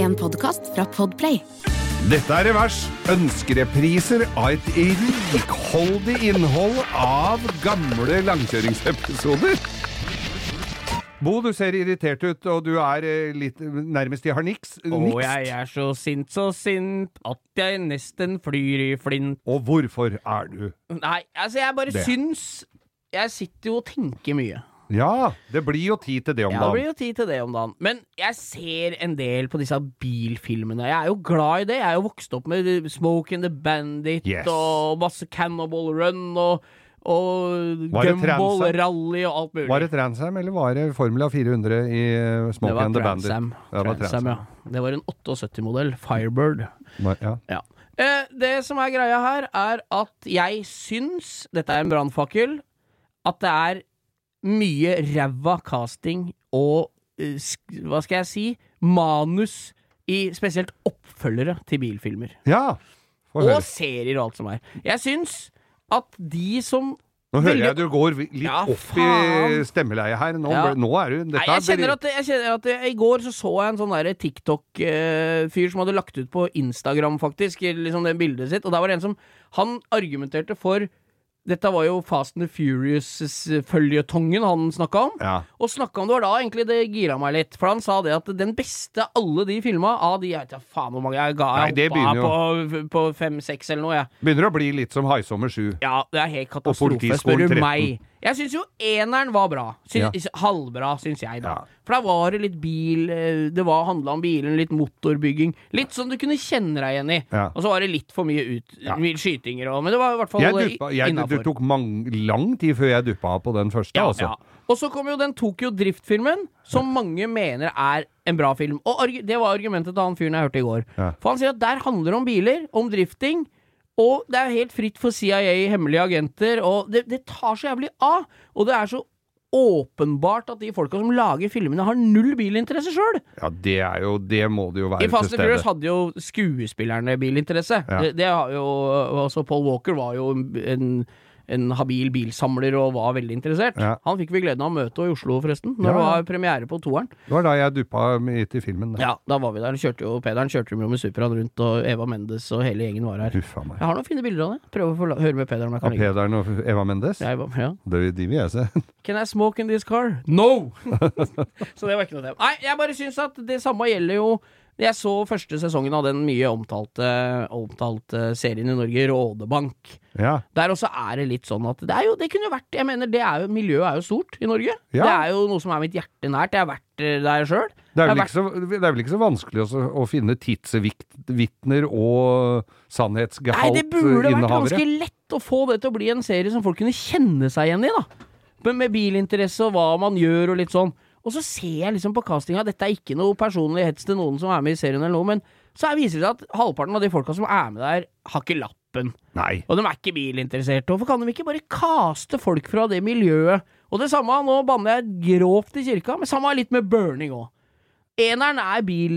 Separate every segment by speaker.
Speaker 1: en podkast fra Podplay.
Speaker 2: Dette er Revers. Ønskerepriser av et rikholdig innhold av gamle langkjøringsepisoder. Bo, du ser irritert ut, og du er eh, litt, nærmest i harniks.
Speaker 3: Og
Speaker 2: nikst.
Speaker 3: jeg er så sint, så sint, at jeg nesten flyr i flint.
Speaker 2: Og hvorfor er du
Speaker 3: Nei, altså, jeg bare
Speaker 2: Det.
Speaker 3: syns Jeg sitter jo og tenker mye.
Speaker 2: Ja, det blir jo tid til det om
Speaker 3: Ja, det blir
Speaker 2: dagen.
Speaker 3: jo tid til det om dagen. Men jeg ser en del på disse bilfilmene. Jeg er jo glad i det. Jeg er jo vokst opp med Smoke and the Bandit
Speaker 2: Yes.
Speaker 3: og masse Cannibal Run og, og
Speaker 2: Var det
Speaker 3: Gumball
Speaker 2: Transam?
Speaker 3: Rally og alt mulig.
Speaker 2: Var det Transam, eller var det Formula 400 i eh,
Speaker 3: Det
Speaker 2: Smoke
Speaker 3: var
Speaker 2: and the Bandit?
Speaker 3: Transam.
Speaker 2: Det var
Speaker 3: Transam,
Speaker 2: Transam.
Speaker 3: ja. Det var en 78-modell Firebird.
Speaker 2: Var- ja.
Speaker 3: Ja. Eh, det som er greia her, er at jeg syns, dette er en brannfakkel, at det er mye ræva casting og eh, sk- hva skal jeg si manus i spesielt oppfølgere til bilfilmer.
Speaker 2: Ja! Få
Speaker 3: Og
Speaker 2: høre.
Speaker 3: serier og alt som er. Jeg syns at de som
Speaker 2: Nå hører
Speaker 3: veldig-
Speaker 2: jeg du går vi- litt
Speaker 3: Ja,
Speaker 2: opp i
Speaker 3: faen.
Speaker 2: stemmeleiet her. Nå,
Speaker 3: Ja.
Speaker 2: ble- nå er du
Speaker 3: Nei,
Speaker 2: dette
Speaker 3: jeg
Speaker 2: er
Speaker 3: kjenner
Speaker 2: beri-
Speaker 3: at, det- jeg kjenner at det- I går så, så jeg en sånn der TikTok-fyr som hadde lagt ut på Instagram, faktisk, liksom det bildet sitt, og der var det en som Han argumenterte for Dette var jo Fast and the Furious-føljetongen han snakka om.
Speaker 2: ja.
Speaker 3: Og snakka om det var da egentlig det gira meg litt, for han sa det at den beste av alle de filma av de Jeg vet da faen hvor mange jeg ga
Speaker 2: Nei,
Speaker 3: jeg
Speaker 2: det
Speaker 3: hoppa
Speaker 2: begynner
Speaker 3: på, på fem-seks eller noe, jeg.
Speaker 2: Begynner å bli litt som High Sommer 7.
Speaker 3: Ja, det er helt
Speaker 2: Og
Speaker 3: katastrofe,
Speaker 2: Politiskolen
Speaker 3: spør du
Speaker 2: 13.
Speaker 3: meg. Jeg syns jo eneren var bra. Syns, Halvbra, syns jeg, da.
Speaker 2: Ja.
Speaker 3: For da var det litt bil eh, Det var handla om bilen, litt motorbygging. Litt sånn du kunne kjenne deg igjen i.
Speaker 2: Ja.
Speaker 3: Og så var det litt for mye ut,
Speaker 2: Ja.
Speaker 3: mye skytinger og Men det var i hvert fall
Speaker 2: Jeg duppa, jeg, det
Speaker 3: innafor.
Speaker 2: tok mang, lang tid før jeg duppa av på den første,
Speaker 3: Ja,
Speaker 2: altså.
Speaker 3: ja. Og så kom jo den Tokyo Drift-filmen, som mange mener er en bra film. Og arg det var argumentet til han fyren jeg hørte i går.
Speaker 2: Ja.
Speaker 3: For han sier at der handler det om biler, om drifting, og det er helt fritt for CIA, hemmelige agenter, og det, det tar så jævlig av. Og det er så åpenbart at de folka som lager filmene, har null bilinteresse sjøl.
Speaker 2: Ja, det er jo Det må det jo være
Speaker 3: I
Speaker 2: til
Speaker 3: Fast and Furious
Speaker 2: stede.
Speaker 3: hadde jo skuespillerne bilinteresse.
Speaker 2: Ja.
Speaker 3: Det, det har jo altså Paul Walker var jo en, en habil bilsamler og var veldig interessert.
Speaker 2: Ja.
Speaker 3: Han fikk vi gleden av å møte i Oslo, forresten,
Speaker 2: Ja,
Speaker 3: når det
Speaker 2: ja.
Speaker 3: var premiere på toeren.
Speaker 2: Det var da jeg duppa hit i filmen.
Speaker 3: Ja, da var vi der. Kjørte jo, Pederen kjørte jo med Superan rundt, og Eva Mendes og hele gjengen var her.
Speaker 2: Huffa meg.
Speaker 3: Jeg har noen fine bilder av det. Prøv å få la- høre med Peder om
Speaker 2: Av
Speaker 3: jeg kan legge
Speaker 2: Pederen og Eva Mendes?
Speaker 3: Jeg var- ja.
Speaker 2: Det er jo de vil jeg se.
Speaker 3: Can I smoke in this car? No! så det var ikke noe tema. Nei, jeg bare syns at det samme gjelder jo Jeg så første sesongen av den mye omtalte, omtalte serien i Norge, Rådebank.
Speaker 2: Ja.
Speaker 3: Der også er det litt sånn at det er jo, det kunne jo vært Jeg mener, det er jo, miljøet er jo stort i Norge.
Speaker 2: Ja.
Speaker 3: Det er jo noe som er mitt hjerte nært. Jeg har vært eh, der sjøl.
Speaker 2: Det er,
Speaker 3: Jeg har
Speaker 2: vel ikke så, det er vel ikke så vanskelig også å finne tidsvitner og
Speaker 3: Nei, det burde vært ganske
Speaker 2: sannhetsgehaltinnehavere?
Speaker 3: lett å få det til å bli en serie som folk kunne kjenne seg igjen i, da. Men med bilinteresse og hva man gjør og litt sånn. Og så ser jeg liksom på castinga, dette er ikke noe personlig hets til noen som er med i serien eller noe, men så her viser det seg at halvparten av de folka som er med der, har ikke lappen.
Speaker 2: Nei.
Speaker 3: Og de er ikke bilinteresserte. Hvorfor kan de ikke bare kaste folk fra det miljøet? Og det samme, nå banner jeg grovt i kirka, men samme er litt med burning òg. Eneren er bil,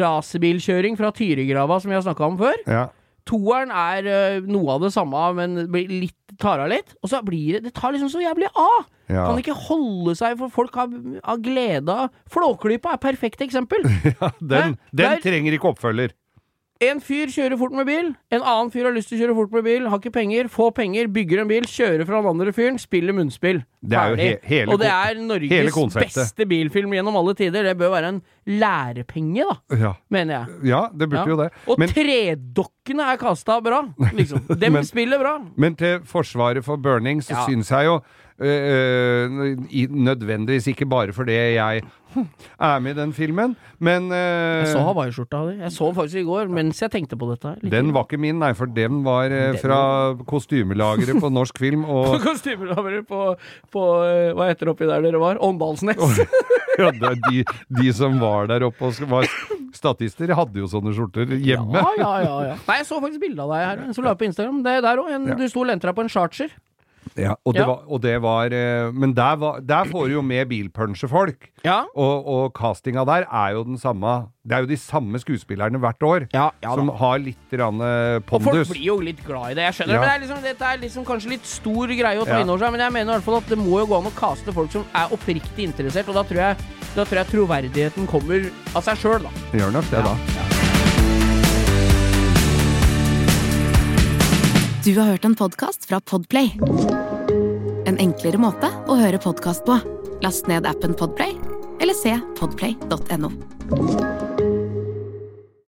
Speaker 3: rasebilkjøring fra Tyrigrava, som vi har snakka om før.
Speaker 2: Ja.
Speaker 3: Toeren er ø, noe av det samme, men blir litt, tar av litt. Og så blir det Det tar liksom så jævlig av!
Speaker 2: Ja.
Speaker 3: Kan ikke holde seg, for folk har, har glede av Flåklypa er et perfekt eksempel.
Speaker 2: Den,
Speaker 3: Hæ?
Speaker 2: den
Speaker 3: Der-
Speaker 2: trenger ikke oppfølger.
Speaker 3: En fyr kjører fort med bil, en annen fyr har lyst til å kjøre fort med bil, har ikke penger, få penger, bygger en bil, kjører fra den andre fyren, spiller munnspill.
Speaker 2: Det er jo
Speaker 3: Ferdig.
Speaker 2: he- hele
Speaker 3: Og det
Speaker 2: kon-
Speaker 3: er
Speaker 2: hele
Speaker 3: Norges
Speaker 2: konseptet.
Speaker 3: beste bilfilm gjennom alle tider. Det bør være en lærepenge, da,
Speaker 2: Ja,
Speaker 3: mener jeg.
Speaker 2: ja det burde
Speaker 3: Ja.
Speaker 2: jo det.
Speaker 3: Og
Speaker 2: Men,
Speaker 3: tredokkene er kasta bra, liksom. Dem
Speaker 2: Men-
Speaker 3: spiller bra.
Speaker 2: men til forsvaret for burning så
Speaker 3: Ja.
Speaker 2: syns jeg jo øh, øh, i- nødvendigvis ikke bare fordi jeg er med i den filmen, men øh,
Speaker 3: Jeg så hawaiiskjorta di. Jeg så den faktisk i går mens jeg tenkte på dette. her. Litt-
Speaker 2: den var ikke min, nei, for den var øh, fra kostymelageret på norsk film.
Speaker 3: På
Speaker 2: Og
Speaker 3: kostymelavere på, på eh, Hva heter det oppi der dere var? Åndalsnes.
Speaker 2: ja, det er de, de som var der oppe og var statister, hadde jo sånne skjorter hjemme.
Speaker 3: Ja, ja, ja, ja. Nei, jeg så faktisk bilde av deg her. Som la ut på Instagram. Det er der òg. Du sto og lente deg på en charger.
Speaker 2: Ja, og det
Speaker 3: Ja.
Speaker 2: var, og det var eh, Men der, var, der får du jo med bilpuncher-folk.
Speaker 3: Ja.
Speaker 2: Og, og castinga der er jo den samme Det er jo de samme skuespillerne hvert år.
Speaker 3: Ja, ja da.
Speaker 2: som har litt grann, eh,
Speaker 3: Og folk
Speaker 2: pondus.
Speaker 3: blir jo litt glad i det. Jeg skjønner
Speaker 2: Ja.
Speaker 3: det, men det er liksom, dette er liksom kanskje litt stor greie å ta
Speaker 2: Ja.
Speaker 3: inn over seg. Men jeg mener i hvert fall at det må jo gå an å kaste folk som er oppriktig interessert, og da tror jeg, da tror jeg troverdigheten kommer av seg sjøl, da.
Speaker 2: Gjør nok det, da.
Speaker 1: Du har hørt en podcast fra Podplay En enklere måte å høre podcast på Last ned appen Podplay Eller se podplay.no